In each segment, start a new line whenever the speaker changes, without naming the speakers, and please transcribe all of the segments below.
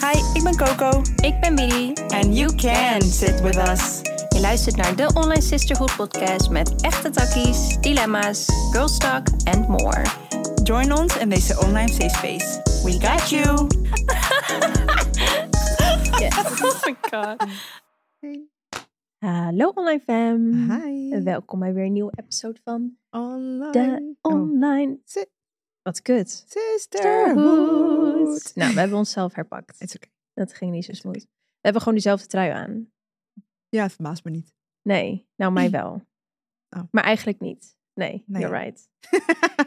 Hi, ik ben Coco.
Ik ben Midi.
And you can sit with us.
Je luistert naar de Online Sisterhood podcast met echte takkies, dilemma's, girl talk and more.
Join ons in deze online safe space. We got you.
Oh my god. Hallo online fam. En
Hi.
welkom bij weer een nieuwe episode van de
Online. Oh.
Online...
Si-
Wat kut.
Sisterhood.
Nou, we hebben onszelf herpakt.
It's okay.
Dat ging niet zo smooth. We hebben gewoon diezelfde trui aan.
Ja, het verbaast me niet.
Nee, nou mij wel.
Oh.
Maar eigenlijk niet. Nee,
Nee.
you're right.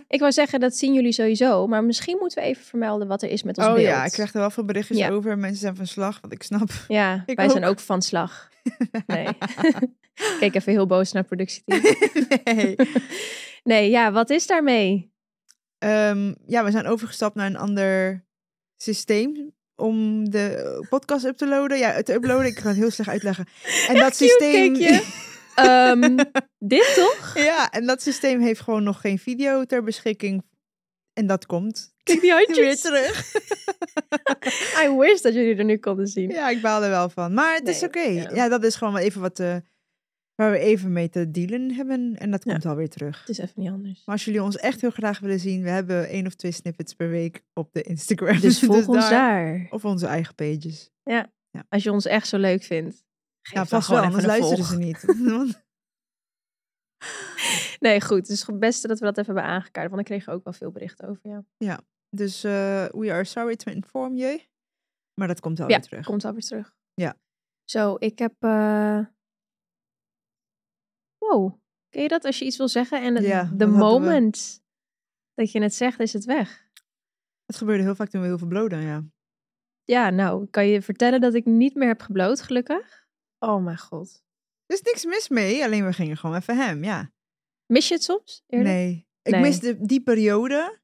Ik wou zeggen, dat zien jullie sowieso. Maar misschien moeten we even vermelden wat er is met ons
oh
beeld.
ja, ik krijg er wel veel berichtjes
Ja.
over. Mensen zijn van slag, want ik snap.
Ja,
Ik
wij zijn
ook.
ook van slag. Nee. Kijk even heel boos naar productieteam.
nee.
nee, ja, wat is daarmee?
Ehm, ja, we zijn overgestapt naar een ander systeem om de eh, podcast up te loaden. Ja, te uploaden. Ik ga het heel slecht uitleggen. En dat
cute
systeem.
keekje. Ehm, dit toch?
ja, en dat systeem heeft gewoon nog geen video ter beschikking. En dat komt
Kijk die
weer
handjes.
terug.
I wish dat jullie er nu konden zien.
Ja, ik baal er wel van. Maar het is
Nee,
oké.
ja.
Ja. dat is gewoon wel even wat eh, waar we even mee te dealen hebben. En dat
Ja.
komt alweer terug.
Het is even niet anders.
Maar als jullie ons echt heel graag willen zien, we hebben één of twee snippets per week op de Instagram.
Dus volg ons daar.
Of onze eigen pages.
Als je ons echt zo leuk vindt. Geef
Ja,
dan
vast wel,
gewoon
anders
even een
luisteren
volg.
ze niet. Want-
Nee, goed. Het is het beste dat we dat even hebben aangekaart. Want ik kreeg er ook wel veel berichten over. Ja,
dus eh, we are sorry to inform you. Maar dat komt alweer
ja
terug.
komt alweer terug.
Ja.
Zo, ik heb... eh, Wow. Ken je dat als je iets wil zeggen en
Ja,
de
dat hadden we.
moment dat je het zegt, is het weg?
Dat gebeurde heel vaak toen we heel veel bloden, ja.
Ja, nou, ik kan je vertellen dat ik niet meer heb gebloot, gelukkig? Oh mijn god.
Er is niks mis mee, alleen we gingen gewoon even hem, ja.
Mis je het soms? Eerlijk?
Nee, ik
Nee.
mis de, die periode.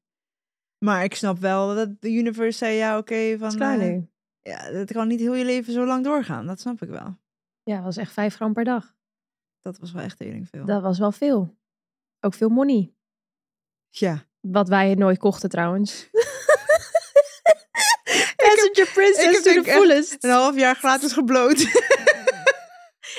Maar ik snap wel dat de universe zei, ja, oké, van...
Het is klaar
eh,
nu.
ja, dat kan niet heel je leven zo lang doorgaan. Dat snap ik wel.
Ja, dat was echt vijf gram per dag.
Dat was wel echt tering veel.
Dat was wel veel. Ook veel money.
Ja.
Wat wij nooit kochten trouwens. Passenger Princess
heb
to
denk
the
echt
fullest.
Een half jaar gratis gebloot.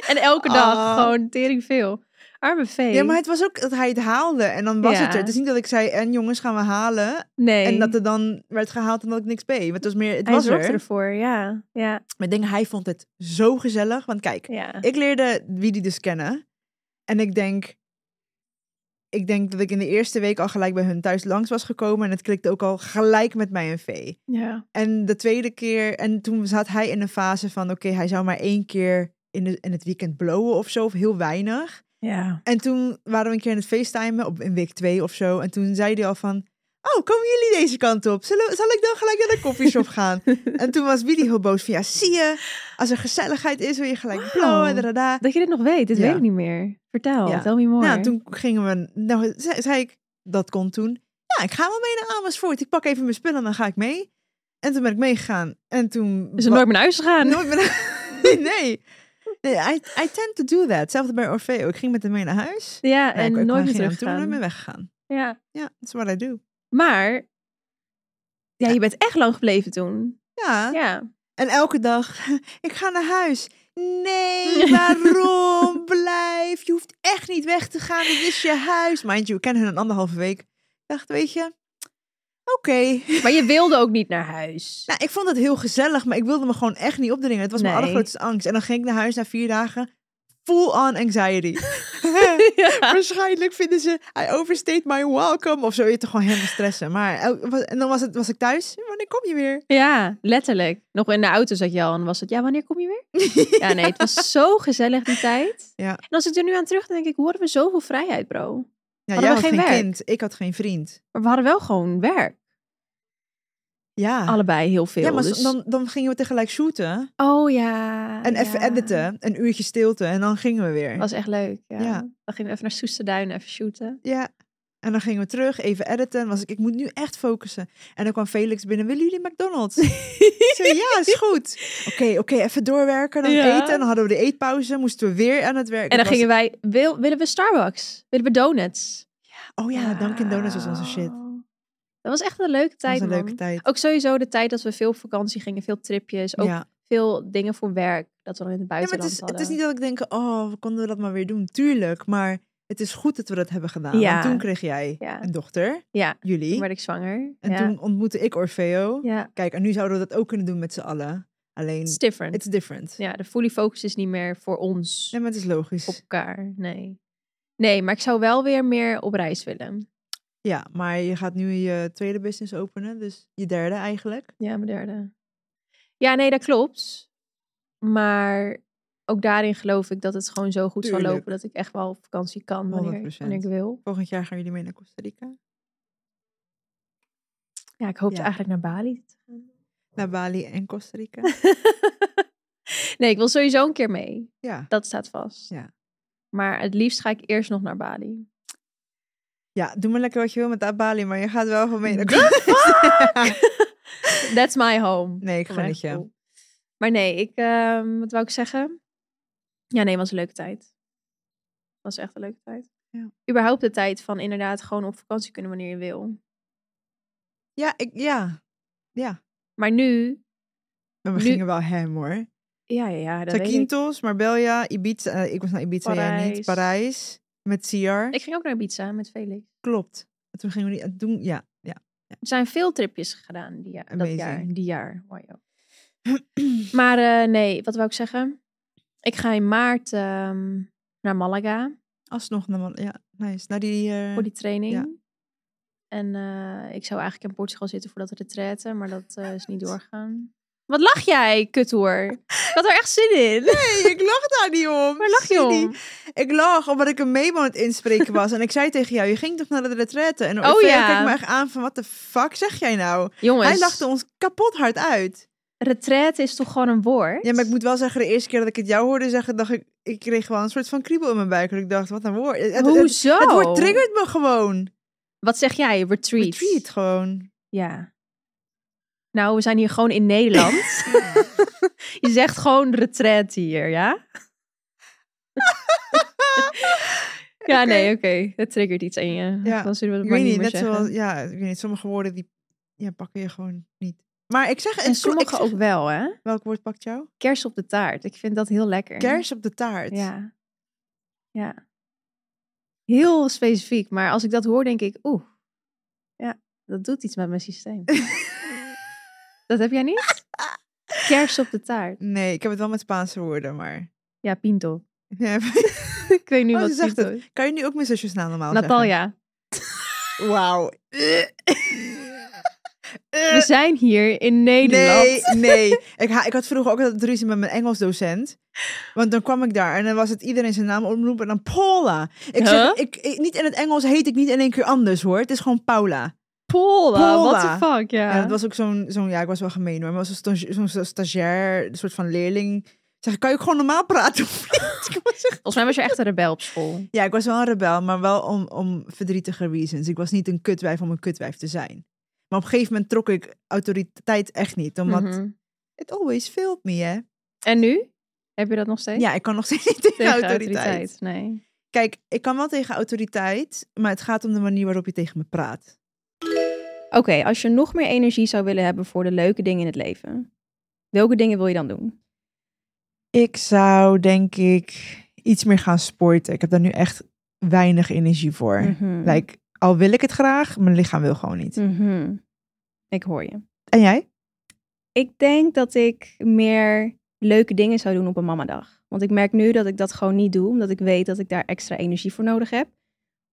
En elke dag
Ah.
gewoon tering veel. Arme vee.
ja, maar het was ook dat hij het haalde. En dan was
Ja.
het er. Het is niet dat ik zei, en jongens, gaan we halen.
nee.
En dat het dan werd gehaald en dat ik niks deed. Maar het was meer, het
hij
was er.
zorgde ervoor, ja. Ja,
Maar ik denk, hij vond het zo gezellig. Want kijk,
ja.
Ik leerde wie die dus kennen. En ik denk, ik denk dat ik in de eerste week al gelijk bij hun thuis langs was gekomen. En het klikte ook al gelijk met mij en Vee.
ja.
En de tweede keer, en toen zat hij in een fase van: oké, hij zou maar één keer in, de, in het weekend blowen of zo, of heel weinig.
ja.
En toen waren we een keer in het facetimen op, in week twee of zo. En toen zei hij al van. Oh, komen jullie deze kant op? Zullen, zal ik dan gelijk naar de koffieshop gaan? en toen was Willy heel boos van... Ja, zie je? Als er gezelligheid is, wil je gelijk
Wauw.
blowen. dadada."
Dat je dit nog weet, dit
Ja.
weet ik niet meer. Vertel,
Ja.
vertel me more.
Nou, toen gingen we... Nou, ze- zei ik, dat kon toen. Ja, ik ga wel mee naar Amersfoort. Ik pak even mijn spullen en dan ga ik mee. En toen ben ik meegegaan. En toen...
Is er nooit meer naar huis gegaan?
Nooit meer- nee. nee I, I tend to do that. Hetzelfde bij Orfeo. Ik ging met hem mee naar huis.
Ja,
Nee,
en
ik- ik
nooit
ging hem
meer
Toen nooit
teruggegaan.
meer weggegaan.
Ja.
Ja, that's what I do.
Maar, ja, je bent echt lang gebleven toen.
Ja.
Ja.
En elke dag, ik ga naar huis. Nee, waarom? Blijf. Je hoeft echt niet weg te gaan. Dit is je huis. Mind you, ik ken hun een anderhalve week. Ik dacht, weet je, oké.
Maar je wilde ook niet naar huis.
Nou, ik vond het heel gezellig, maar ik wilde me gewoon echt niet opdringen. Het was mijn
Nee.
allergrootste angst. En dan ging ik naar huis na vier dagen. Full on anxiety.
ja.
Waarschijnlijk vinden ze, I overstayed my welcome. Of zo, je toch gewoon helemaal stressen. Maar, el- en dan was, het, was ik thuis. Wanneer kom je weer?
Ja, letterlijk. Nog in de auto zat je al en was het, ja, wanneer kom je weer? Ja, nee, het was zo gezellig die tijd.
Ja.
En als ik er nu aan terug denk, ik, hoe hadden we zoveel vrijheid, bro?
Ja,
Hadden
jij
we
had
geen
geen
werk?
kind. Ik had geen vriend.
Maar we hadden wel gewoon werk.
Ja.
Allebei heel veel.
Ja, maar
dus-
dan, dan gingen we tegelijk shooten
Oh ja.
en even
ja.
editen, een uurtje stilte en dan gingen we weer.
was echt leuk, ja.
Ja.
Dan gingen we even naar Soesterduin even shooten.
Ja. En dan gingen we terug, even editen. Was ik, ik moet nu echt focussen. En dan kwam Felix binnen, willen jullie McDonald's? ik zei, ja, is goed. Oké, oké, even doorwerken, dan
Ja.
eten. Dan hadden we de eetpauze, moesten we weer aan het werk.
En dan
Het was-
gingen wij, wil, willen we Starbucks? Willen we donuts?
Oh ja, Dunkin' Donuts was onze shit.
Wauw. Dat was echt een leuke
Dat was
tijd,
een leuke
man.
tijd.
Ook sowieso de tijd dat we veel op vakantie gingen, veel tripjes, ook
ja.
veel dingen voor werk dat we dan in het
Ja, maar
buitenland
het is, het
hadden.
is niet dat ik denk, oh, konden we dat maar weer doen? Tuurlijk, maar het is goed dat we dat hebben gedaan.
Ja.
Want toen kreeg jij
Ja.
een dochter,
Ja, toen
jullie.
werd ik zwanger.
En
ja.
toen ontmoette ik Orfeo.
ja,
Kijk, en nu zouden we dat ook kunnen doen met z'n allen. Alleen,
it's different.
it's different.
Ja, de fully focus is niet meer voor ons
Nee, maar het is
op
logisch.
elkaar. Nee. Nee, maar ik zou wel weer meer op reis willen.
Ja, maar je gaat nu je tweede business openen. Dus je derde eigenlijk.
Ja, mijn derde. Ja, nee, dat klopt. Maar ook daarin geloof ik dat het gewoon zo goed zal
Tuurlijk.
lopen dat ik echt wel op vakantie kan wanneer,
100%.
wanneer ik wil.
Volgend jaar gaan jullie mee naar Costa Rica.
Ja, ik hoopte
Ja.
eigenlijk naar Bali te gaan.
Naar Bali en Costa Rica.
nee, ik wil sowieso een keer mee.
ja.
Dat staat vast.
Ja.
Maar het liefst ga ik eerst nog naar Bali.
ja, doe maar lekker wat je wil met dat Bali, maar je gaat wel gewoon mee naar
The
Costa Rica.
That's my home.
Ah. Nee, ik
voor
gun
mijn
het je.
gevoel. Maar nee, ik, ehm, wat wou ik zeggen? Ja, nee, was een leuke tijd. Was echt een leuke tijd.
Ja.
Überhaupt de tijd van inderdaad gewoon op vakantie kunnen wanneer je wil.
Ja, ik, ja. ja.
Maar nu,
Maar we
Nu-
gingen wel hem hoor.
ja, ja, ja dat weet ik.
Zakynthos, Marbella, Ibiza. eh, ik was naar Ibiza, jij niet.
Parijs.
Parijs. Met Siar.
Ik ging ook naar Ibiza met Felix.
Klopt. En Toen gingen we die en toen, ja. ja.
Er zijn veel tripjes gedaan die jaar, dat
Amazing.
jaar. Die jaar. Wauw. maar eh, nee, wat wou ik zeggen? Ik ga in maart ehm, naar Malaga.
Alsnog naar, Mal- ja, nice. Naar die, eh,
voor Oh, die training.
Ja.
En eh, ik zou eigenlijk in Portugal zitten voor dat retraite, maar dat eh, is niet doorgaan. Wat lach jij, kuthoer? Ik had er echt zin in.
Nee, ik lach daar niet om.
Waar lach je
Silly.
om?
Ik lag omdat ik een memo aan het inspreken was. en ik zei tegen jou, je ging toch naar de retraite? En
Oh
Orfeo
ja.
keek me echt aan van, wat de fuck zeg jij nou?
Jongens,
Hij lachte ons kapot hard uit.
retraite is toch gewoon een woord?
Ja, maar ik moet wel zeggen, de eerste keer dat ik het jou hoorde zeggen, dacht ik, ik kreeg wel een soort van kriebel in mijn buik. En ik dacht, wat een woord. Het, het, het,
Hoezo?
het woord triggert me gewoon.
Wat zeg jij? Retreat.
Retreat gewoon.
Ja. Nou, we zijn hier gewoon in Nederland. Je zegt gewoon retraite hier, ja? Ja,
Oké.
nee, oké. Het triggert iets in je.
Ja.
Dan zullen we
Ik
het maar
weet
niet,
niet, net
meer zeggen.
zoals, ja, ik weet niet, sommige woorden die ja, pakken je gewoon niet. Maar ik zeg, het
En
klopt, ik
sommige
zeg-
ook wel, hè?
Welk woord pakt jou?
Kers op de taart. Ik vind dat heel lekker.
Kers op de taart.
Ja. Ja. Heel specifiek. Maar als ik dat hoor, denk ik, oeh. Ja, dat doet iets met mijn systeem. dat heb jij niet? Kers op de taart.
Nee, ik heb het wel met Spaanse woorden, maar...
Ja, pinto.
Ja.
Ik weet nu
Oh,
wat
ze zegt
pinto
het.
is.
Kan je nu ook mijn zusjesnaam normaal zeggen?
Natalia,
Wauw.
we zijn hier in Dus Nederland.
Eh. Nee, nee. Ik, ha- ik had vroeger ook altijd ruzie met mijn Engels docent. Want dan kwam ik daar en dan was het iedereen zijn naam omroepen en dan Paula. Ik zeg,
Huh?
ik, ik- niet in het Engels heet ik niet in één keer anders hoor. Het is gewoon Paula.
Paula, what the
Paula.
fuck, ja.
En dat was ook zo'n, zo'n ja, ik was wel gemeen hoor, maar was zo'n sta- zo'n stagiair, een soort van leerling. Zeg, kan je ook gewoon normaal praten? of niet? Ik was echt-
Volgens mij was je echt een rebel op school.
ja, ik was wel een rebel, maar wel om, om verdrietige reasons. Ik was niet een kutwijf om een kutwijf te zijn. Maar op een gegeven moment trok ik autoriteit echt niet, omdat
Mhm.
it always failed me, hè?
En nu? Heb je dat nog steeds?
Ja, ik kan nog steeds niet tegen,
Tegen
autoriteit.
autoriteit. Nee.
Kijk, ik kan wel tegen autoriteit, maar het gaat om de manier waarop je tegen me praat.
Oké, als je nog meer energie zou willen hebben voor de leuke dingen in het leven, welke dingen wil je dan doen?
Ik zou denk ik iets meer gaan sporten. Ik heb daar nu echt weinig energie voor.
Mhm.
Like, al wil ik het graag, mijn lichaam wil gewoon niet.
Mhm.
Mm-hmm.
Ik hoor je.
En jij?
Ik denk dat ik meer leuke dingen zou doen op een mamadag. Want ik merk nu dat ik dat gewoon niet doe, omdat ik weet dat ik daar extra energie voor nodig heb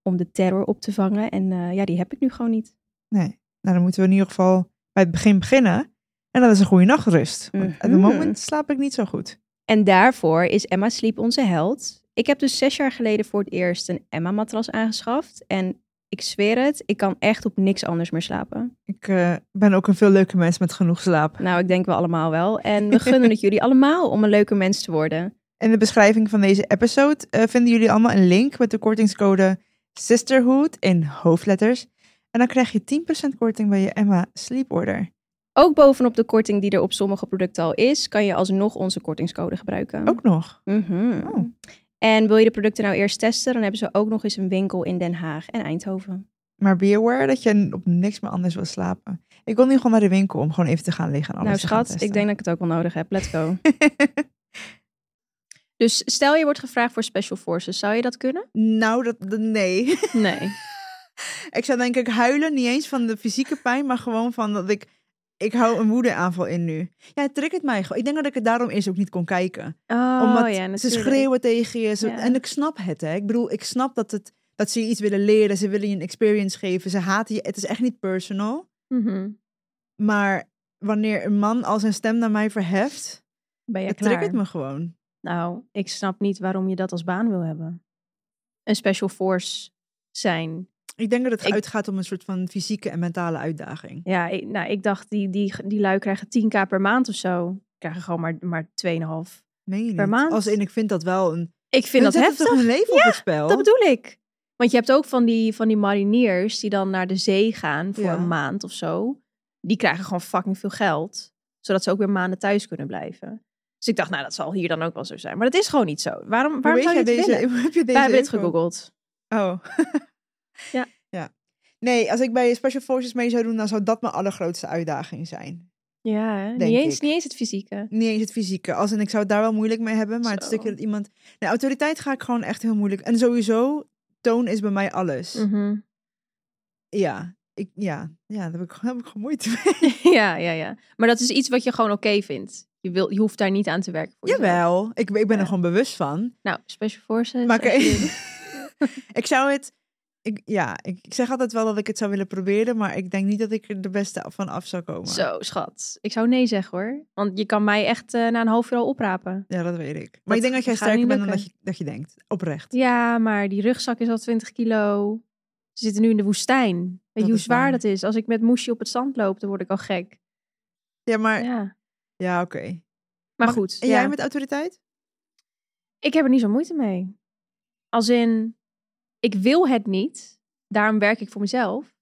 om de terror op te vangen. En eh, ja, die heb ik nu gewoon niet.
Nee. Nou, dan moeten we in ieder geval bij het begin beginnen. En dat is een goede nachtrust. Want Op
Mhm.
het moment slaap ik niet zo goed.
En daarvoor is Emma Sleep onze held. Ik heb dus zes jaar geleden voor het eerst een Emma-matras aangeschaft. En ik zweer het, ik kan echt op niks anders meer slapen.
Ik eh, ben ook een veel leuke mens met genoeg slaap.
Nou, ik denk wel allemaal wel. En we gunnen het jullie allemaal om een leuke mens te worden.
In de beschrijving van deze episode eh, vinden jullie allemaal een link met de kortingscode Sisterhood in hoofdletters. En dan krijg je 10% korting bij je Emma Sleep Order.
Ook bovenop de korting die er op sommige producten al is, kan je alsnog onze kortingscode gebruiken.
Ook nog.
Mhm.
Oh.
En wil je de producten nou eerst testen, dan hebben ze ook nog eens een winkel in Den Haag en Eindhoven.
Maar beware dat je op niks meer anders wil slapen. Ik wil nu gewoon naar de winkel om gewoon even te gaan liggen. En
nou
alles te gaan
schat, ik
testen.
denk dat ik het ook wel nodig heb. Let's go. dus stel je wordt gevraagd voor Special Forces, zou je dat kunnen?
nou, dat, dat- nee.
Nee.
ik zou denk ik huilen, niet eens van de fysieke pijn, maar gewoon van dat ik... Ik hou een woedeaanval in nu. Ja, het triggert mij gewoon. Ik denk dat ik het daarom eerst ook niet kon kijken.
Oh
Omdat
ja,
ze
natuurlijk.
schreeuwen tegen je. ze-
Ja.
En ik snap het, hè. Ik bedoel, ik snap dat, het, dat ze je iets willen leren. Ze willen je een experience geven. Ze haten je. Het is echt niet personal.
Mhm.
Maar wanneer een man al zijn stem naar mij verheft...
Ben je
het
klaar?
triggert me gewoon.
Nou, ik snap niet waarom je dat als baan wil hebben. Een Special Force zijn
Ik denk dat het
Ik-
uitgaat om een soort van fysieke en mentale uitdaging.
Ja, ik, nou, ik dacht, die, die, die lui krijgen 10k per maand of zo. Krijgen gewoon maar, maar 2,5.
Meen je
Per
niet?
maand?
Als in, ik vind dat wel een...
Ik
Hun
vind dat
zetten
heftig.
toch hun leven op het spel?
Dat bedoel ik. Want je hebt ook van die, van die mariniers die dan naar de zee gaan voor
Ja.
een maand of zo. Die krijgen gewoon fucking veel geld. Zodat ze ook weer maanden thuis kunnen blijven. Dus ik dacht, nou, dat zal hier dan ook wel zo zijn. Maar dat is gewoon niet zo. Waarom,
Hoe
waarom
weet
zou
jij
je dit
deze,
willen?
hoe heb je deze
Wij hebben dit
info?
gegoogeld.
Oh.
Ja.
ja. Nee, als ik bij Special Forces mee zou doen, dan zou dat mijn allergrootste uitdaging zijn.
Ja, hè? niet
Denk
eens,
ik.
niet eens het fysieke.
Niet eens het fysieke. Als in, ik zou het daar wel moeilijk mee hebben, maar het
Zo.
stukje dat iemand... Nee, autoriteit ga ik gewoon echt heel moeilijk... En sowieso, toon is bij mij alles.
Mhm.
Ja. Ik, ja, ja, daar heb ik, daar heb ik gewoon moeite mee.
ja, ja, ja. Maar dat is iets wat je gewoon oké vindt. Je, wil, je hoeft daar niet aan te werken. voor jezelf.
Jawel, ik, ik ben
Ja.
er gewoon bewust van.
Nou, Special Forces.
Maar oké.
alsjeblieft.
ik zou het. Ik, ja, ik, ik zeg altijd wel dat ik het zou willen proberen, maar ik denk niet dat ik er de beste van af zou komen.
Zo, schat. Ik zou nee zeggen hoor. Want je kan mij echt eh, na een half uur al oprapen.
Ja, dat weet ik. Maar ik denk dat jij
gaat niet
sterker bent dan dat
lukken.
je, dat je denkt. Oprecht.
Ja, maar die rugzak is al 20 kilo. Ze zitten nu in de woestijn. Weet je
Dat
hoe
is
zwaar
waar.
dat is? Als ik met Moesje op het zand loop, dan word ik al gek.
Ja, maar. Ja,
Ja.
oké.
Maar
Mag-
goed,
En
ja.
jij met autoriteit?
ik heb er niet zo moeite mee. Als in, ik wil het niet. Daarom werk ik voor mezelf.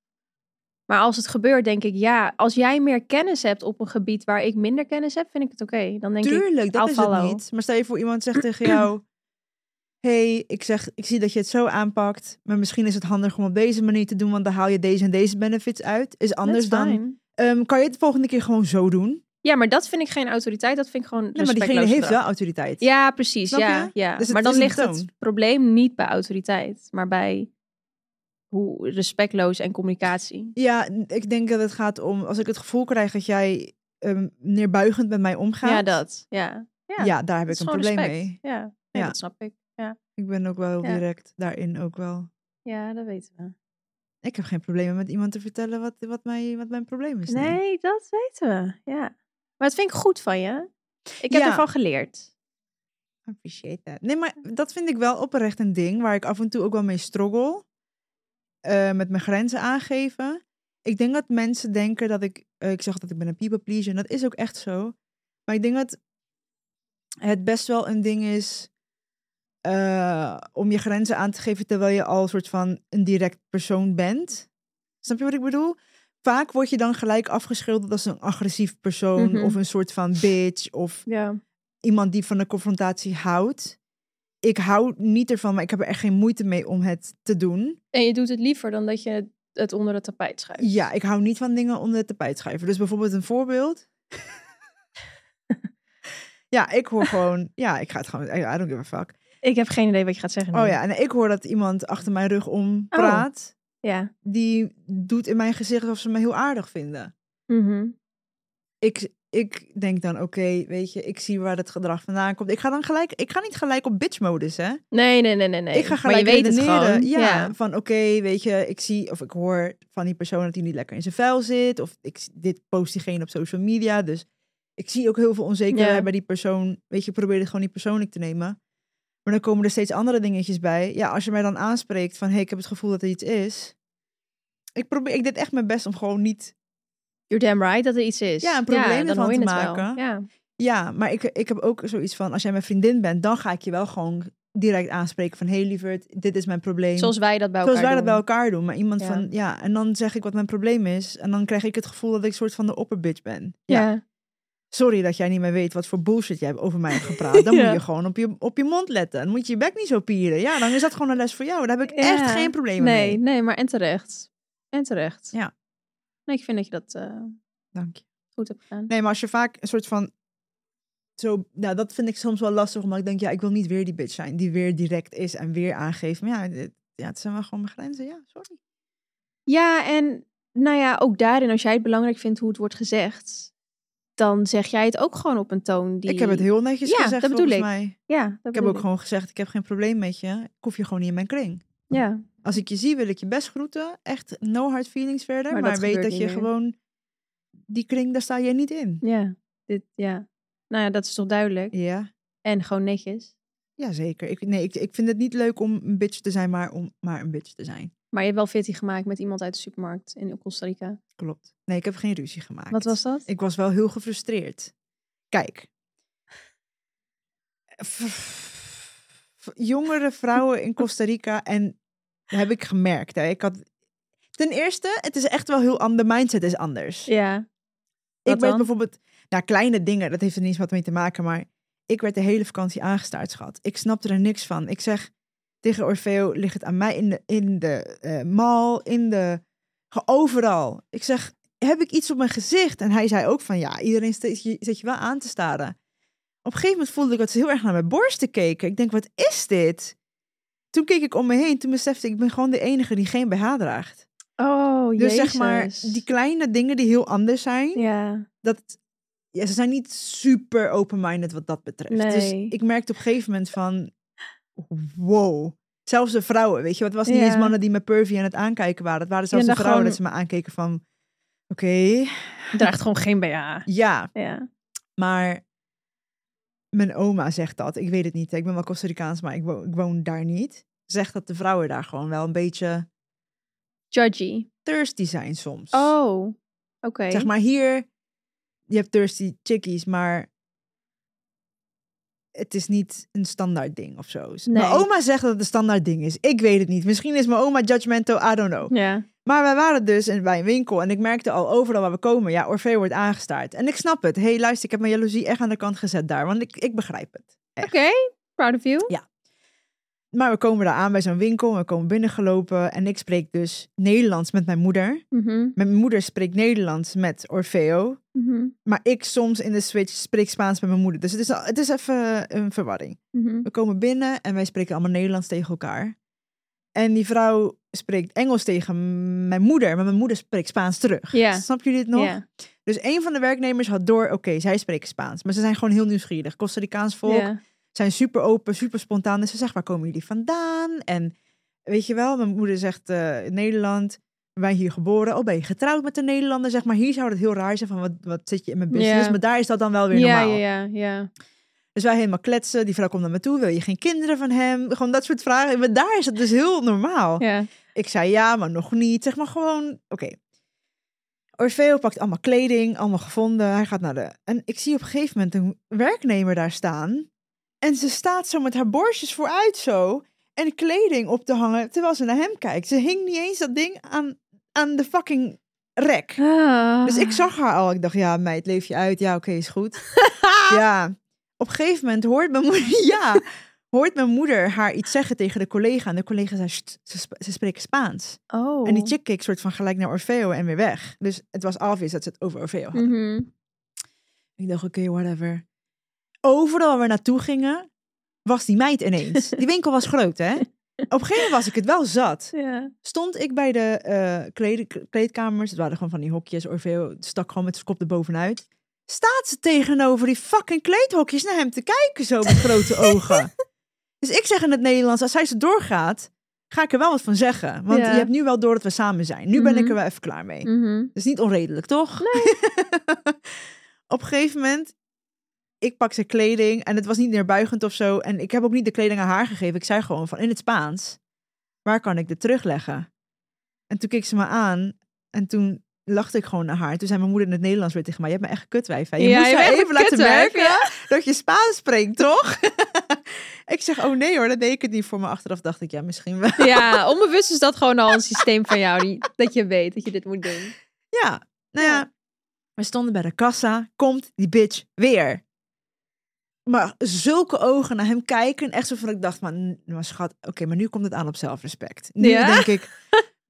Maar als het gebeurt, denk ik, ja, als jij meer kennis hebt op een gebied waar ik minder kennis heb, vind ik het oké. Dan denk ik,
Tuurlijk, dat
I'll
is het
follow.
niet. Maar stel je voor iemand zegt tegen jou. hey, ik, zeg, ik zie dat je het zo aanpakt. Maar misschien is het handig om op deze manier te doen. Want dan haal je deze en deze benefits uit. Is anders
that's
dan.
fine.
ehm, kan je het de volgende keer gewoon zo doen? Nee,
Ja, maar dat vind ik geen autoriteit. Dat vind ik gewoon
maar
respectloos
diegene heeft
gedrag.
wel autoriteit.
Ja, precies.
Snap
Ja,
je?
ja.
Dus het
maar dan
is een
ligt het
toon.
probleem niet bij autoriteit, maar bij hoe respectloos en communicatie.
Ja, n- ik denk dat het gaat om als ik het gevoel krijg dat jij ehm, neerbuigend met mij omgaat.
Ja, dat. Ja.
Ja, daar heb
Dat is
ik een
gewoon
probleem
respect.
mee.
Ja. Nee,
Ja.
dat snap ik. Ja.
Ik ben ook wel heel
Ja.
direct daarin ook wel.
ja, dat weten we.
Ik heb geen problemen met iemand te vertellen wat, wat, mij, wat mijn probleem is.
Nee, dat weten we. Ja. Maar dat vind ik goed van je. Ik heb
Ja.
ervan geleerd.
Appreciate that. Nee, maar dat vind ik wel oprecht een ding waar ik af en toe ook wel mee struggle. Eh, met mijn grenzen aangeven. Ik denk dat mensen denken dat ik... eh, ik zeg dat ik ben een people pleaser. En dat is ook echt zo. Maar ik denk dat het best wel een ding is... eh, om je grenzen aan te geven terwijl je al een soort van een direct persoon bent. Snap je wat ik bedoel? Vaak word je dan gelijk afgeschilderd als een agressief persoon...
Mhm.
of een soort van bitch of
Ja.
iemand die van de confrontatie houdt. Ik hou niet ervan, maar ik heb er echt geen moeite mee om het te doen.
En je doet het liever dan dat je het onder het tapijt schuift.
Ja, ik hou niet van dingen onder het tapijt schuiven. Dus bijvoorbeeld een voorbeeld. ja, ik hoor gewoon... Ja, ik ga het gewoon... I don't give a fuck.
Ik heb geen idee wat je gaat zeggen. nu.
Oh ja, en ik hoor dat iemand achter mijn rug om praat.
Ja.
Die doet in mijn gezicht alsof ze me heel aardig vinden.
Mhm.
ik, ik denk dan, oké, weet je, ik zie waar het gedrag vandaan komt. Ik ga dan gelijk, ik ga niet gelijk op bitch-modus, hè.
Nee, nee, nee, nee, nee.
ik ga
maar
gelijk
je weet het
redeneren.
gewoon.
Ja, van oké, weet je, ik zie of ik hoor van die persoon dat hij niet lekker in zijn vel zit. Of ik, s- dit post diegene op social media. Dus ik zie ook heel veel onzekerheid
Ja.
bij die persoon. Weet je, probeer het gewoon niet persoonlijk te nemen. Maar dan komen er steeds andere dingetjes bij. Ja, als je mij dan aanspreekt van hé, hey, ik heb het gevoel dat er iets is. Ik probeer, ik deed echt mijn best om gewoon niet
You're damn right dat er iets is.
Ja, een probleem
dan
ervan
hoor je
te
het wel.
maken.
Ja.
Ja, maar ik, ik heb ook zoiets van, als jij mijn vriendin bent, dan ga ik je wel gewoon direct aanspreken van, hé hey, lieverd, dit is mijn probleem.
Zoals wij dat bij
Zoals
elkaar
wij dat bij
doen.
elkaar doen. Maar iemand
Ja.
van, ja, en dan zeg ik wat mijn probleem is. En dan krijg ik het gevoel dat ik soort van de opperbitch ben.
Ja.
Sorry dat jij niet meer weet wat voor bullshit jij over mij hebt gepraat. Dan
Ja.
moet je gewoon op je, op je mond letten. Dan moet je je bek niet zo pieren. Ja, dan is dat gewoon een les voor jou. Daar heb ik
Ja.
echt geen probleem
Nee,
mee.
nee, maar en terecht.
En terecht.
Ja.
Nee, ik vind dat je dat eh,
Dank je.
goed hebt gedaan.
Nee, maar als je vaak een soort van... Zo, nou, dat vind ik soms wel lastig, omdat ik denk, ja, ik wil niet weer die bitch zijn die weer direct is en weer aangeeft. Maar ja, dit- ja het zijn wel gewoon mijn grenzen. Ja, sorry.
Ja, en nou ja, ook daarin, als jij het belangrijk vindt hoe het wordt gezegd, dan zeg jij het ook gewoon op een toon die...
Ik heb het heel netjes
Ja,
gezegd,
dat bedoel
volgens
ik.
mij.
Ja, dat
Ik heb
bedoel
ook gewoon gezegd, ik heb geen probleem met je. Ik hoef je gewoon niet in mijn kring.
Ja,
Als ik je zie, wil ik je best groeten. Echt no hard feelings verder.
Maar
Maar,
dat
weet
gebeurt
dat
niet
je
meer.
gewoon... Die kring, daar sta jij niet in.
ja, dit, ja. Nou ja, dat is toch duidelijk.
Ja,
En gewoon netjes.
ja zeker. Ik, nee, ik, ik vind het niet leuk om een bitch te zijn, maar om maar een bitch te zijn.
Maar je hebt wel fitty gemaakt met iemand uit de supermarkt in Costa Rica.
Klopt. Nee, ik heb geen ruzie gemaakt.
Wat was dat?
Ik was wel heel gefrustreerd. Kijk. V- Jongere vrouwen in Costa Rica en dat heb ik gemerkt. Hè. Ik had... Ten eerste, het is echt wel heel anders. De mindset is anders.
Ja.
Ik
Wat
werd
dan?
bijvoorbeeld, nou kleine dingen, dat heeft er niets wat mee te maken, maar ik werd de hele vakantie aangestaard, schat. Ik snapte er niks van. Ik zeg tegen Orfeo, ligt het aan mij in de, in de eh, mal, in de, ge- overal. Ik zeg, heb ik iets op mijn gezicht? En hij zei ook van, ja, iedereen zit je, zit je wel aan te staren. Op een gegeven moment voelde ik dat ze heel erg naar mijn borsten keken. Ik denk, wat is dit? Toen keek ik om me heen, toen besefte ik, ik ben gewoon de enige die geen BH draagt.
Oh,
Dus
jezus.
zeg maar, die kleine dingen die heel anders zijn
Ja,
dat ja, ze zijn niet super open-minded wat dat betreft.
Nee.
Dus ik merkte op een gegeven moment van, wow. Zelfs de vrouwen, weet je, want het was niet
Ja.
eens mannen die me pervy aan het aankijken waren. Het waren zelfs
Ja,
de
dan
vrouwen dat ze
gewoon-
me aankeken van, oké,
draagt gewoon geen BH.
ja,
Ja.
maar mijn oma zegt dat. Ik weet het niet, hè. ik ben wel Costa Ricaans, maar ik, wo- ik woon daar niet. Zegt dat de vrouwen daar gewoon wel een beetje
Judgy.
thirsty zijn soms.
Oh, oké.
Zeg maar hier, je hebt thirsty chickies, maar het is niet een standaard ding of zo. Mijn
Nee.
oma zegt dat het een standaard ding is. Ik weet het niet. Misschien is mijn oma judgmental, I don't know.
Ja.
Maar wij waren dus in- bij een winkel en ik merkte al overal waar we komen, ja, Orfeo wordt aangestaard. En ik snap het. Hé, hey, luister, ik heb mijn jaloezie echt aan de kant gezet daar, want ik, ik begrijp het.
Oké, proud of you.
Maar we komen daar aan bij zo'n winkel, we komen binnengelopen en ik spreek dus Nederlands met mijn moeder.
Mhm,
Mijn moeder spreekt Nederlands met Orfeo.
mhm,
Maar ik soms in de switch spreek Spaans met mijn moeder. Dus het is, al- het is even eh, een verwarring.
mhm.
We komen binnen en wij spreken allemaal Nederlands tegen elkaar. En die vrouw spreekt Engels tegen mijn moeder, maar mijn moeder spreekt Spaans terug.
Ja.
Snap jullie dit nog?
Ja.
Dus een van de werknemers had door, oké, zij spreken Spaans. Maar ze zijn gewoon heel nieuwsgierig. Costa Ricaans volk
Ja.
zijn super open, super spontaan. Dus ze zegt, waar komen jullie vandaan? En weet je wel, mijn moeder zegt eh, Nederland. Wij hier geboren. Oh, ben je getrouwd met een Nederlander? Zeg maar, hier zou het heel raar zijn van wat, wat zit je in mijn business?
Ja.
Maar daar is dat dan wel weer
Ja,
normaal.
ja, ja, ja.
Dus wij helemaal kletsen. Die vrouw komt naar me toe. Wil je geen kinderen van hem? Gewoon dat soort vragen. Maar daar is het dus heel normaal.
Ja.
Ik zei ja, maar nog niet. Zeg maar gewoon, oké. Orfeo pakt allemaal kleding, allemaal gevonden. Hij gaat naar de... En ik zie op een gegeven moment een werknemer daar staan. En ze staat zo met haar borstjes vooruit zo. En kleding op te hangen, terwijl ze naar hem kijkt. Ze hing niet eens dat ding aan, aan de fucking rek.
Ah.
Dus ik zag haar al. Ik dacht, ja meid, leef je uit. Ja, oké, is goed. ja. Op een gegeven moment hoort mijn moeder... Ja, hoort mijn moeder haar iets zeggen tegen de collega. En de collega zei, "Sst, ze, sp- ze spreken Spaans.
Oh.
En die chick keek soort van gelijk naar Orfeo en weer weg. Dus het was obvious dat ze het over Orfeo hadden.
Mhm.
Ik dacht, oké, whatever. Overal waar we naartoe gingen, was die meid ineens. Die winkel was groot, hè? Op een gegeven moment was ik het wel zat
Ja.
stond ik bij de eh, klede- k- kleedkamers. Het waren gewoon van die hokjes. Orfeo stak gewoon met zijn kop erbovenuit. Staat ze tegenover die fucking kleedhokjes naar hem te kijken zo met grote ogen. Dus ik zeg in het Nederlands, als hij ze doorgaat, ga ik er wel wat van zeggen. Want
Ja.
je hebt nu wel door dat we samen zijn. Nu ben ik
Mhm.
er wel even klaar mee.
Mhm.
Dat is niet onredelijk, toch? Op een gegeven moment, ik pak zijn kleding en het was niet neerbuigend of zo. En ik heb ook niet de kleding aan haar gegeven. Ik zei gewoon van in het Spaans, waar kan ik dit terugleggen? En toen keek ze me aan en toen lachte ik gewoon naar haar. Toen zei mijn moeder in het Nederlands weer tegen mij, je hebt me echt gekutwijf. Hè? Je
Ja,
moest
je
haar
bent echt
even laten
gekutwijf,
merken dat je Spaans spreekt, toch? ik zeg, oh nee hoor, dat deed ik het niet voor me. Achteraf dacht ik, ja, misschien wel.
Ja, onbewust is dat gewoon al een systeem van jou. Die, dat je weet dat je dit moet doen.
Ja, nou ja. We stonden bij de kassa. Komt die bitch weer. Maar zulke ogen naar hem kijken. Echt zo van, ik dacht, maar, n- maar schat, oké, maar nu komt het aan op zelfrespect. Nu
Ja?
denk ik,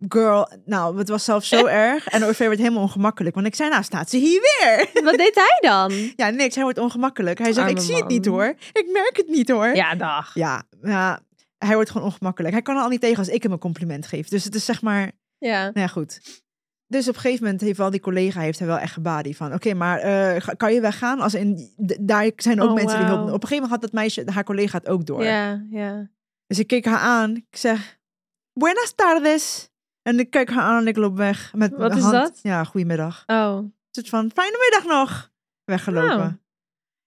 Girl, nou, het was zelfs zo erg. En Orfeo werd helemaal ongemakkelijk. Want ik zei, nou staat ze hier weer.
Wat deed hij dan?
Ja, niks. Hij wordt ongemakkelijk. Hij zegt,
Arme
ik zie het
man.
niet hoor. Ik merk het niet hoor.
Ja, dag.
Ja, ja, hij wordt gewoon ongemakkelijk. Hij kan er al niet tegen als ik hem een compliment geef. Dus het is zeg maar,
Ja.
nou ja, goed. Dus op een gegeven moment heeft wel die collega heeft hij wel echt gebadie van, oké, maar eh, ga- kan je weggaan? Als in, d- daar zijn ook
Oh,
mensen die hulp.
wauw.
Op een gegeven moment had dat meisje, haar collega het ook door.
Ja, ja.
Dus ik keek haar aan. Ik zeg, buenas tardes. En ik kijk haar aan en ik loop weg. Met
Wat
mijn
is
hand.
dat?
Ja, goedemiddag.
Oh.
Een soort van, fijne middag nog. Weggelopen.
Nou.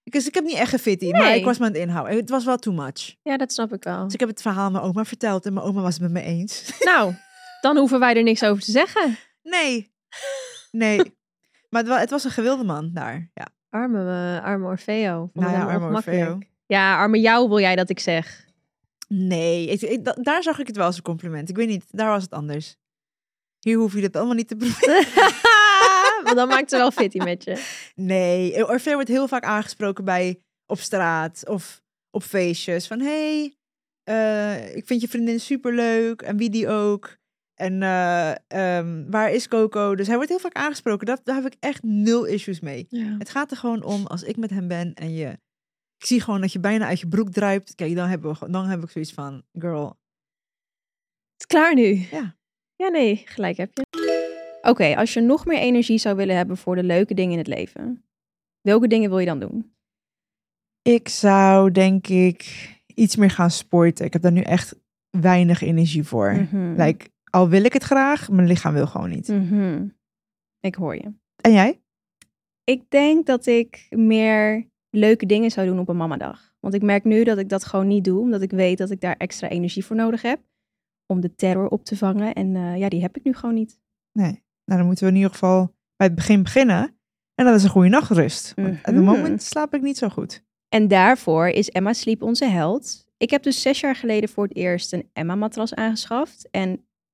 Ik, dus ik heb niet echt gefitty, maar
Nee.
ik was me aan het inhouden. Het was wel too much.
Ja, dat snap ik wel.
Dus ik heb het verhaal aan mijn oma verteld en mijn oma was het met me eens.
Nou, dan hoeven wij er niks over te zeggen.
Nee. Nee. maar het, wa- het was een gewilde man daar. Ja.
Arme, eh, arme Orfeo. Vond
Nou
het
ja,
hem
arme
ongemakkelijk.
Orfeo.
Ja, arme jou wil jij dat ik zeg.
Nee, ik, ik- da- daar zag ik het wel als een compliment. Ik weet niet, daar was het anders. Hier hoef je dat allemaal niet te proberen.
Want dan maakt ze wel fitty met je.
Nee, Orfeo wordt heel vaak aangesproken bij op straat of op feestjes. Van hey, eh, ik vind je vriendin superleuk en wie die ook. En eh, ehm, waar is Coco? Dus hij wordt heel vaak aangesproken. Dat, daar heb ik echt nul issues mee. Het gaat er gewoon om, als ik met hem ben en je... Ik zie gewoon dat je bijna uit je broek druipt. Kijk, dan, hebben we, gewoon- dan heb ik zoiets van, girl.
Het is klaar nu.
Ja.
Ja, nee, gelijk heb je. Oké, als je nog meer energie zou willen hebben voor de leuke dingen in het leven, welke dingen wil je dan doen?
Ik zou, denk ik, iets meer gaan sporten. Ik heb daar nu echt weinig energie voor.
Mhm.
Like, al wil ik het graag, mijn lichaam wil gewoon niet.
Mhm. Ik hoor je.
En jij?
Ik denk dat ik meer leuke dingen zou doen op een mamadag. Want ik merk nu dat ik dat gewoon niet doe, omdat ik weet dat ik daar extra energie voor nodig heb om de terror op te vangen. En eh, ja, die heb ik nu gewoon niet.
Nee. Nou, dan moeten we in ieder geval bij het begin beginnen. En dat is een goede nachtrust. Want op het
Mhm.
moment slaap ik niet zo goed.
En daarvoor is Emma Sleep onze held. Ik heb dus zes jaar geleden voor het eerst een Emma-matras aangeschaft. En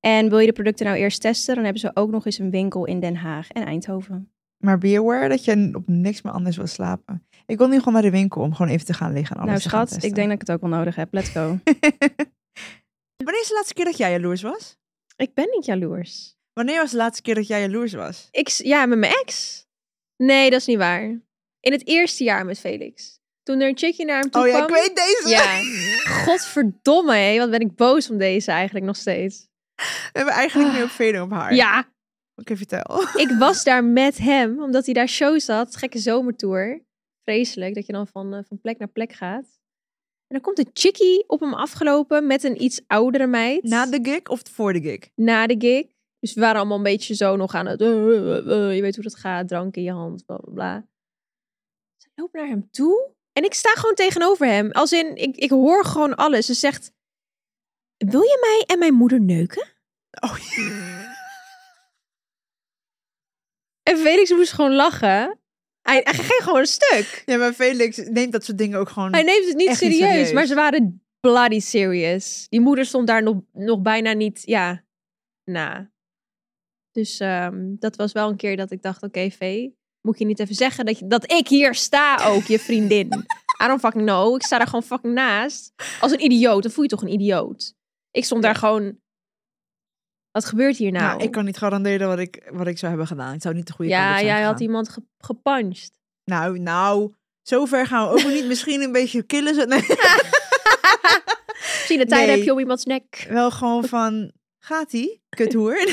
En wil je de producten nou eerst testen, dan hebben ze ook nog eens een winkel in Den Haag en Eindhoven.
Maar be aware dat je op niks meer anders wil slapen. Ik wil nu gewoon naar de winkel om gewoon even te gaan liggen en alles
nou
te gaan
schat, ik
testen.
denk dat ik het ook wel nodig heb. Let's go.
Wanneer is de laatste keer dat jij jaloers was?
ik ben niet jaloers.
Wanneer was de laatste keer dat jij jaloers was?
Ik, s- ja, met mijn ex. Nee, dat is niet waar. In het eerste jaar met Felix. Toen er een chickie naar hem toe
oh ja,
kwam.
ik weet deze.
Ja. Godverdomme, hé. Wat ben ik boos om deze eigenlijk nog steeds.
We hebben eigenlijk nu op velen op haar.
Ah. Ja,
Oké, vertel.
ik was daar met hem, omdat hij daar shows had. Gekke zomertour. Vreselijk, dat je dan van, eh, van plek naar plek gaat. En dan komt een chickie op hem afgelopen met een iets oudere meid.
Na de gig of voor de gig?
na de gig. Dus we waren allemaal een beetje zo nog aan het... eh, eh, eh, je weet hoe dat gaat, drank in je hand, bla bla bla. Ze loopt naar hem toe. En ik sta gewoon tegenover hem. Als in, ik, ik hoor gewoon alles. Ze zegt... Wil je mij en mijn moeder neuken?
Oh,
En Felix moest gewoon lachen. Hij, hij ging gewoon een stuk.
ja, maar Felix neemt dat soort dingen ook gewoon...
Hij neemt het niet
Echt niet
serieus,
serieus.
maar ze waren bloody serious. Die moeder stond daar nog, nog bijna niet, ja, na. Dus ehm, dat was wel een keer dat ik dacht, oké, Vee, moet je niet even zeggen dat, je, dat ik hier sta ook, je vriendin. I don't fucking know. Ik sta daar gewoon fucking naast. Als een idioot, dan voel je toch een idioot. Ik stond daar gewoon... Wat gebeurt hier nou?
Nou, ik kan niet garanderen wat ik, wat ik zou hebben gedaan. Ik zou niet de goede kant
ja,
op zijn
jij had
gegaan.
iemand ge gepuncht.
Nou, nou, zover gaan we ook niet. Misschien een beetje killen. ze- Nee.
Misschien de tijd
Nee.
heb je om iemands nek.
Wel gewoon van, gaat ie? Kuthoer.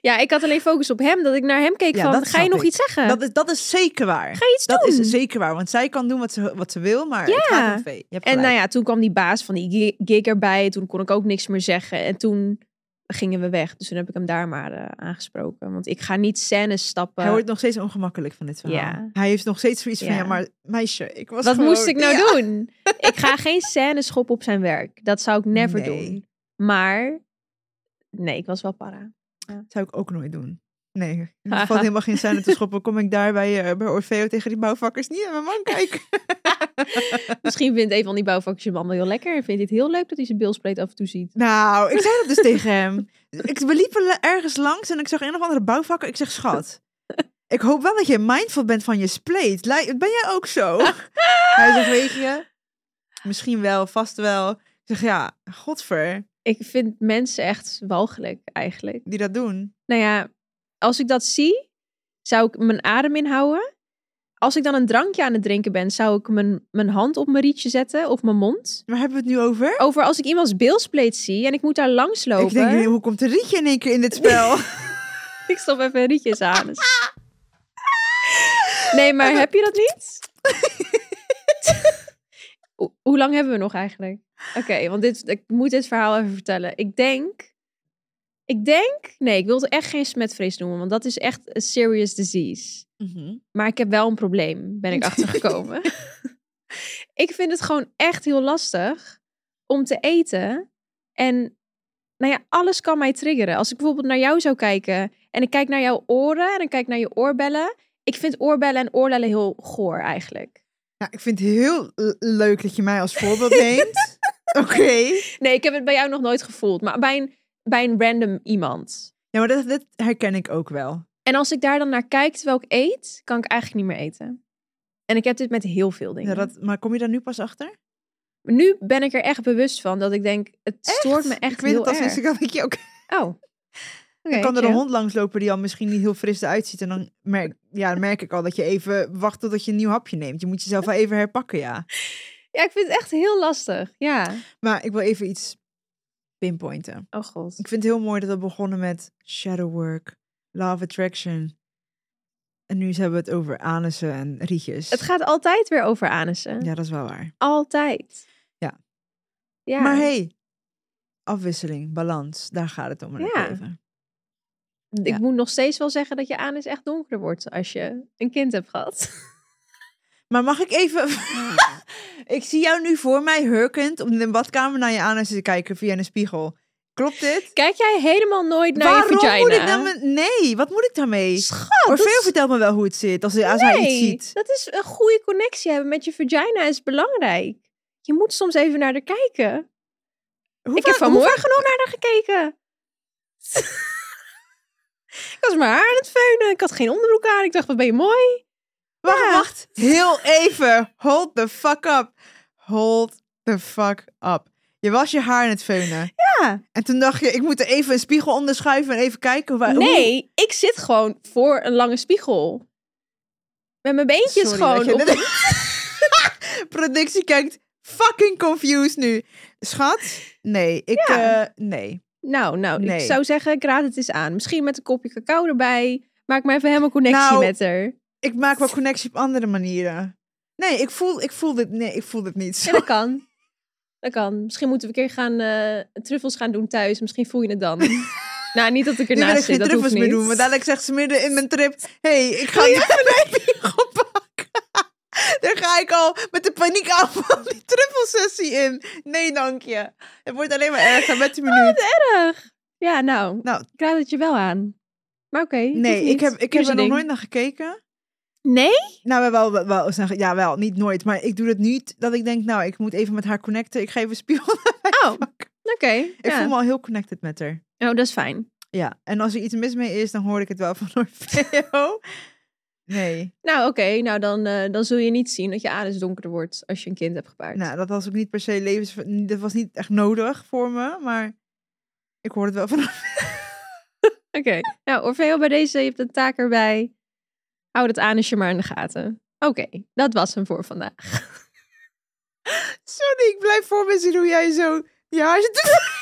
Ja, ik had alleen focus op hem, dat ik naar hem keek
Ja,
van,
dat
ga je
snap
nog
ik.
iets zeggen?
dat, is, dat is zeker waar.
Ga je iets
Dat
doen?
is zeker waar, want zij kan doen wat ze, wat ze wil, maar
Ja.
het gaat om twee. Je hebt
En
gelijk.
nou ja, toen kwam die baas van die gi- gig erbij. Toen kon ik ook niks meer zeggen. En toen gingen we weg. Dus toen heb ik hem daar maar eh, aangesproken. Want ik ga niet scènes stappen.
Hij wordt nog steeds ongemakkelijk van dit verhaal.
Ja.
Hij heeft nog steeds zoiets van,
Ja.
ja, maar meisje, ik was
Wat
gewoon-
moest ik nou
Ja.
doen? Ik ga geen scènes schoppen op zijn werk. Dat zou ik never
Nee.
doen. Maar nee, ik was wel para.
Zou ik ook nooit doen. Nee, het valt helemaal geen scène te schoppen. Kom ik daar bij, eh, bij Orfeo tegen die bouwvakkers niet aan mijn man kijken.
Misschien vindt een van die bouwvakkers je man wel heel lekker. En vindt hij het heel leuk dat hij zijn bilspleet af en toe ziet.
Nou, ik zei dat dus tegen hem. Ik, we liepen le- ergens langs en ik zag een of andere bouwvakker. Ik zeg, schat, ik hoop wel dat je mindful bent van je spleet. Lij- Ben jij ook zo? Hij zegt, weet je, misschien wel, vast wel. Ik zeg, ja, godver,
Ik vind mensen echt walgelijk eigenlijk.
die dat doen.
Nou ja, als ik dat zie, zou ik mijn adem inhouden. Als ik dan een drankje aan het drinken ben, zou ik mijn, mijn hand op mijn rietje zetten of mijn mond.
Waar hebben we het nu over?
Over als ik iemands bilspleet zie en ik moet daar langs lopen.
Ik denk, hoe komt de rietje in één keer in dit spel?
Ik stop even een rietje in zijn anus. Nee, maar heb je dat niet? Ho- Hoe lang hebben we nog eigenlijk? Oké, want dit, ik moet dit verhaal even vertellen. Ik denk... Ik denk... Nee, ik wil het echt geen smetvrees noemen, want dat is echt een serious disease.
Mhm.
Maar ik heb wel een probleem, ben ik achtergekomen. ik vind het gewoon echt heel lastig om te eten. En nou ja, alles kan mij triggeren. Als ik bijvoorbeeld naar jou zou kijken en ik kijk naar jouw oren en ik kijk naar je oorbellen. Ik vind oorbellen en oorlellen heel goor eigenlijk.
Nou, ik vind het heel l- leuk dat je mij als voorbeeld neemt. Oké.
Nee, ik heb het bij jou nog nooit gevoeld, maar bij een, bij een random iemand.
Ja, maar dat, dat herken ik ook wel.
En als ik daar dan naar kijk terwijl ik eet, kan ik eigenlijk niet meer eten. En ik heb dit met heel veel dingen.
Ja, dat, maar kom je daar nu pas achter?
Maar Nu ben ik er echt bewust van dat ik denk, het stoort me echt
Ik weet
heel
het al
erg.
sinds ik dat ik je ook
Oh. Oké,
Dan kan er een
chill.
hond langslopen die al misschien niet heel fris eruit ziet. En dan merk, ja, dan merk ik al dat je even wacht totdat je een nieuw hapje neemt. Je moet jezelf wel even herpakken, ja.
Ja, ik vind het echt heel lastig. Ja.
Maar ik wil even iets pinpointen.
Oh god.
Ik vind het heel mooi dat we begonnen met shadow work, law of attraction. En nu hebben we het over anussen en rietjes.
Het gaat altijd weer over anussen.
Ja, dat is wel waar.
Altijd.
Ja.
Ja.
Maar hey, afwisseling, balans, daar gaat het om in het
Ja.
leven.
ik
ja.
moet nog steeds wel zeggen dat je anus echt donkerder wordt als je een kind hebt gehad.
Maar mag ik even... ik zie jou nu voor mij hurkend om in de badkamer naar je anus te kijken via een spiegel. Klopt dit?
Kijk jij helemaal nooit naar
Waarom
je vagina?
moet ik dan mijn- Nee, wat moet ik daarmee?
Schat,
Orfeo
dat is-
vertelt me wel hoe het zit als, hij- als hij iets
Nee,
ziet.
dat is een goede connectie hebben met je vagina is belangrijk. Je moet soms even naar haar kijken.
Hoe
ik heb
vaak- hoe vaak-
vanmorgen nog naar haar gekeken. ik was mijn haar aan het veunen. Ik had geen onderbroek aan. Ik dacht, wat ben je mooi.
Wacht, wacht. Heel even. Hold the fuck up. Hold the fuck up. Je was je haar aan het veunen.
Ja.
En toen dacht je, ik moet er even een spiegel onderschuiven en even kijken. Waar, hoe-
Nee, ik zit gewoon voor een lange spiegel. Met mijn beentjes
Sorry, dat
gewoon.
je
Op...
net- Productie kijkt fucking confused nu. Schat? Nee, ik...
Ja.
eh, nee.
Nou, nou,
Nee.
ik zou zeggen, ik raad het eens aan. Misschien met een kopje cacao erbij. Maak maar even helemaal connectie
Nou,
met haar.
Ik maak wel connectie op andere manieren. Nee, ik voel, ik voel dit, nee, ik voel dit niet.
Ja, dat kan. Dat kan. Misschien moeten we een keer gaan eh, truffels gaan doen thuis. Misschien voel je het dan. nou, niet dat ik
Nu wil ik
ernaast
geen
zit. Dat hoeft
truffels meer
niet.
doen. Maar dadelijk zegt ze midden in mijn trip... hey, ik ga je een spiegel pakken? Daar ga ik al met de paniek af van die truffelsessie in. Nee, dank je. Het wordt alleen maar erger met de
Oh,
minuut.
erg. Ja, nou,
Nou.
ik raad het je wel aan. Maar oké. het hoeft
Nee,
niet.
ik heb, ik
Doe
heb
je
er nog
ding.
nooit naar gekeken.
Nee?
Nou, wel, wel, wel, wel zeggen- ja, wel, niet nooit. Maar ik doe het niet dat ik denk... nou, ik moet even met haar connecten. Ik ga even spiegel.
Oh, oké.
Ik
ja.
voel me al heel connected met haar.
Oh, dat is fijn.
Ja, en als er iets mis mee is... dan hoor ik het wel van Orfeo. Nee.
Nou, oké. Nou, dan, eh, dan zul je niet zien dat je anus donkerder wordt als je een kind hebt gebaard.
Nou, dat was ook niet per se levens... Dat was niet echt nodig voor me, maar ik hoor het wel van...
Oké. Nou, Orfeo, bij deze, je hebt een taak erbij. Hou dat anusje maar in de gaten. Oké, dat was hem voor vandaag.
Sorry, ik blijf voor me zien hoe jij zo je haar zit te-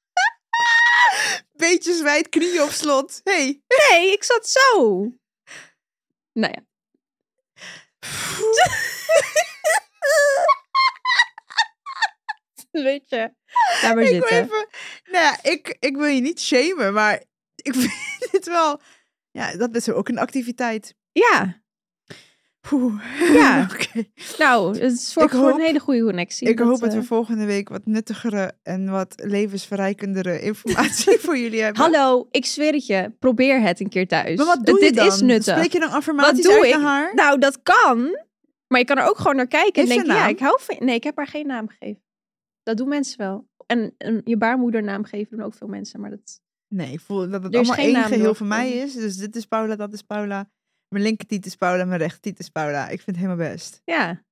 Beetje zwijd, knieën op slot. hey.
Nee, ik zat zo. Nou ja. Weet je. Laat maar
ik wil
zitten.
even... Nou ja, ik, ik wil je niet shamen, maar ik vind het wel... Ja, dat is ook een activiteit.
Ja.
Ja,
Ja. Nou, het zorgt
Ik
voor
hoop-
een hele goede connectie.
ik hoop dat
eh,
we volgende week wat nuttigere en wat levensverrijkendere informatie voor jullie hebben.
Hallo, ik zweer het je. Probeer het een keer thuis.
Maar wat doe
Dit
je dan?
is nuttig.
Spreek je dan affirmaties
Wat doe
uit
ik?
naar haar?
Nou, dat kan. Maar je kan er ook gewoon naar kijken
Heeft
en
ze
denken,
een
ja,
naam?
ik hou van je. Nee, ik heb haar geen naam gegeven. Dat doen mensen wel. En, en je baarmoedernaam geven doen ook veel mensen, maar dat...
Nee, ik voel dat het
Er is
allemaal
geen
één
naam
geheel
erop.
van mij is. Dus dit is Paula, dat is Paula. Mijn linker tiet is Paula, mijn rechter tiet is Paula. Ik vind het helemaal best.
Ja,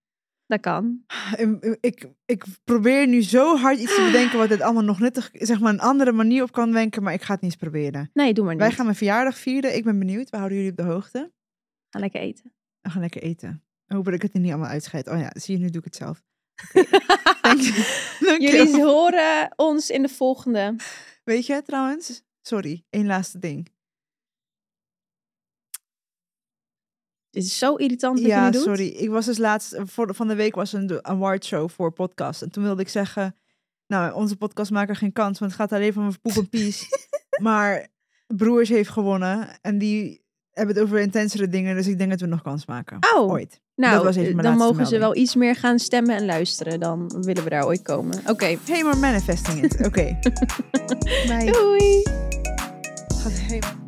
dat kan.
Ik, Ehm, ik, ik probeer nu zo hard iets te bedenken wat dit allemaal nog nuttig, zeg maar een andere manier op kan wenken, maar ik ga het niet eens proberen.
Nee, doe maar niet.
Wij gaan mijn verjaardag vieren. Ik ben benieuwd. We houden jullie op de hoogte.
Ga lekker eten.
We gaan lekker eten. Ik hoop dat ik het er niet allemaal uitscheid. Oh ja, zie je, nu doe ik het zelf. Dank je. Dank je.
Jullie horen ons in de volgende.
Weet je trouwens? Sorry, één laatste ding.
Dit is zo irritant wat
Ja,
jullie doen.
sorry. Ik was dus laatst, voor, van de week was een do- awardshow voor podcast. En toen wilde ik zeggen, nou, onze podcastmaker geen kans, want het gaat alleen van poep en pies. maar Broers heeft gewonnen en die hebben het over intensere dingen, dus ik denk dat we nog kans maken.
Oh,
Ooit.
nou,
dat was even mijn
dan
laatste
mogen ze
melding.
wel iets meer gaan stemmen en luisteren. Dan willen we daar ooit komen. Oké,
Hey, maar manifesting it. Oké. Bye.
doei!
Gaat helemaal-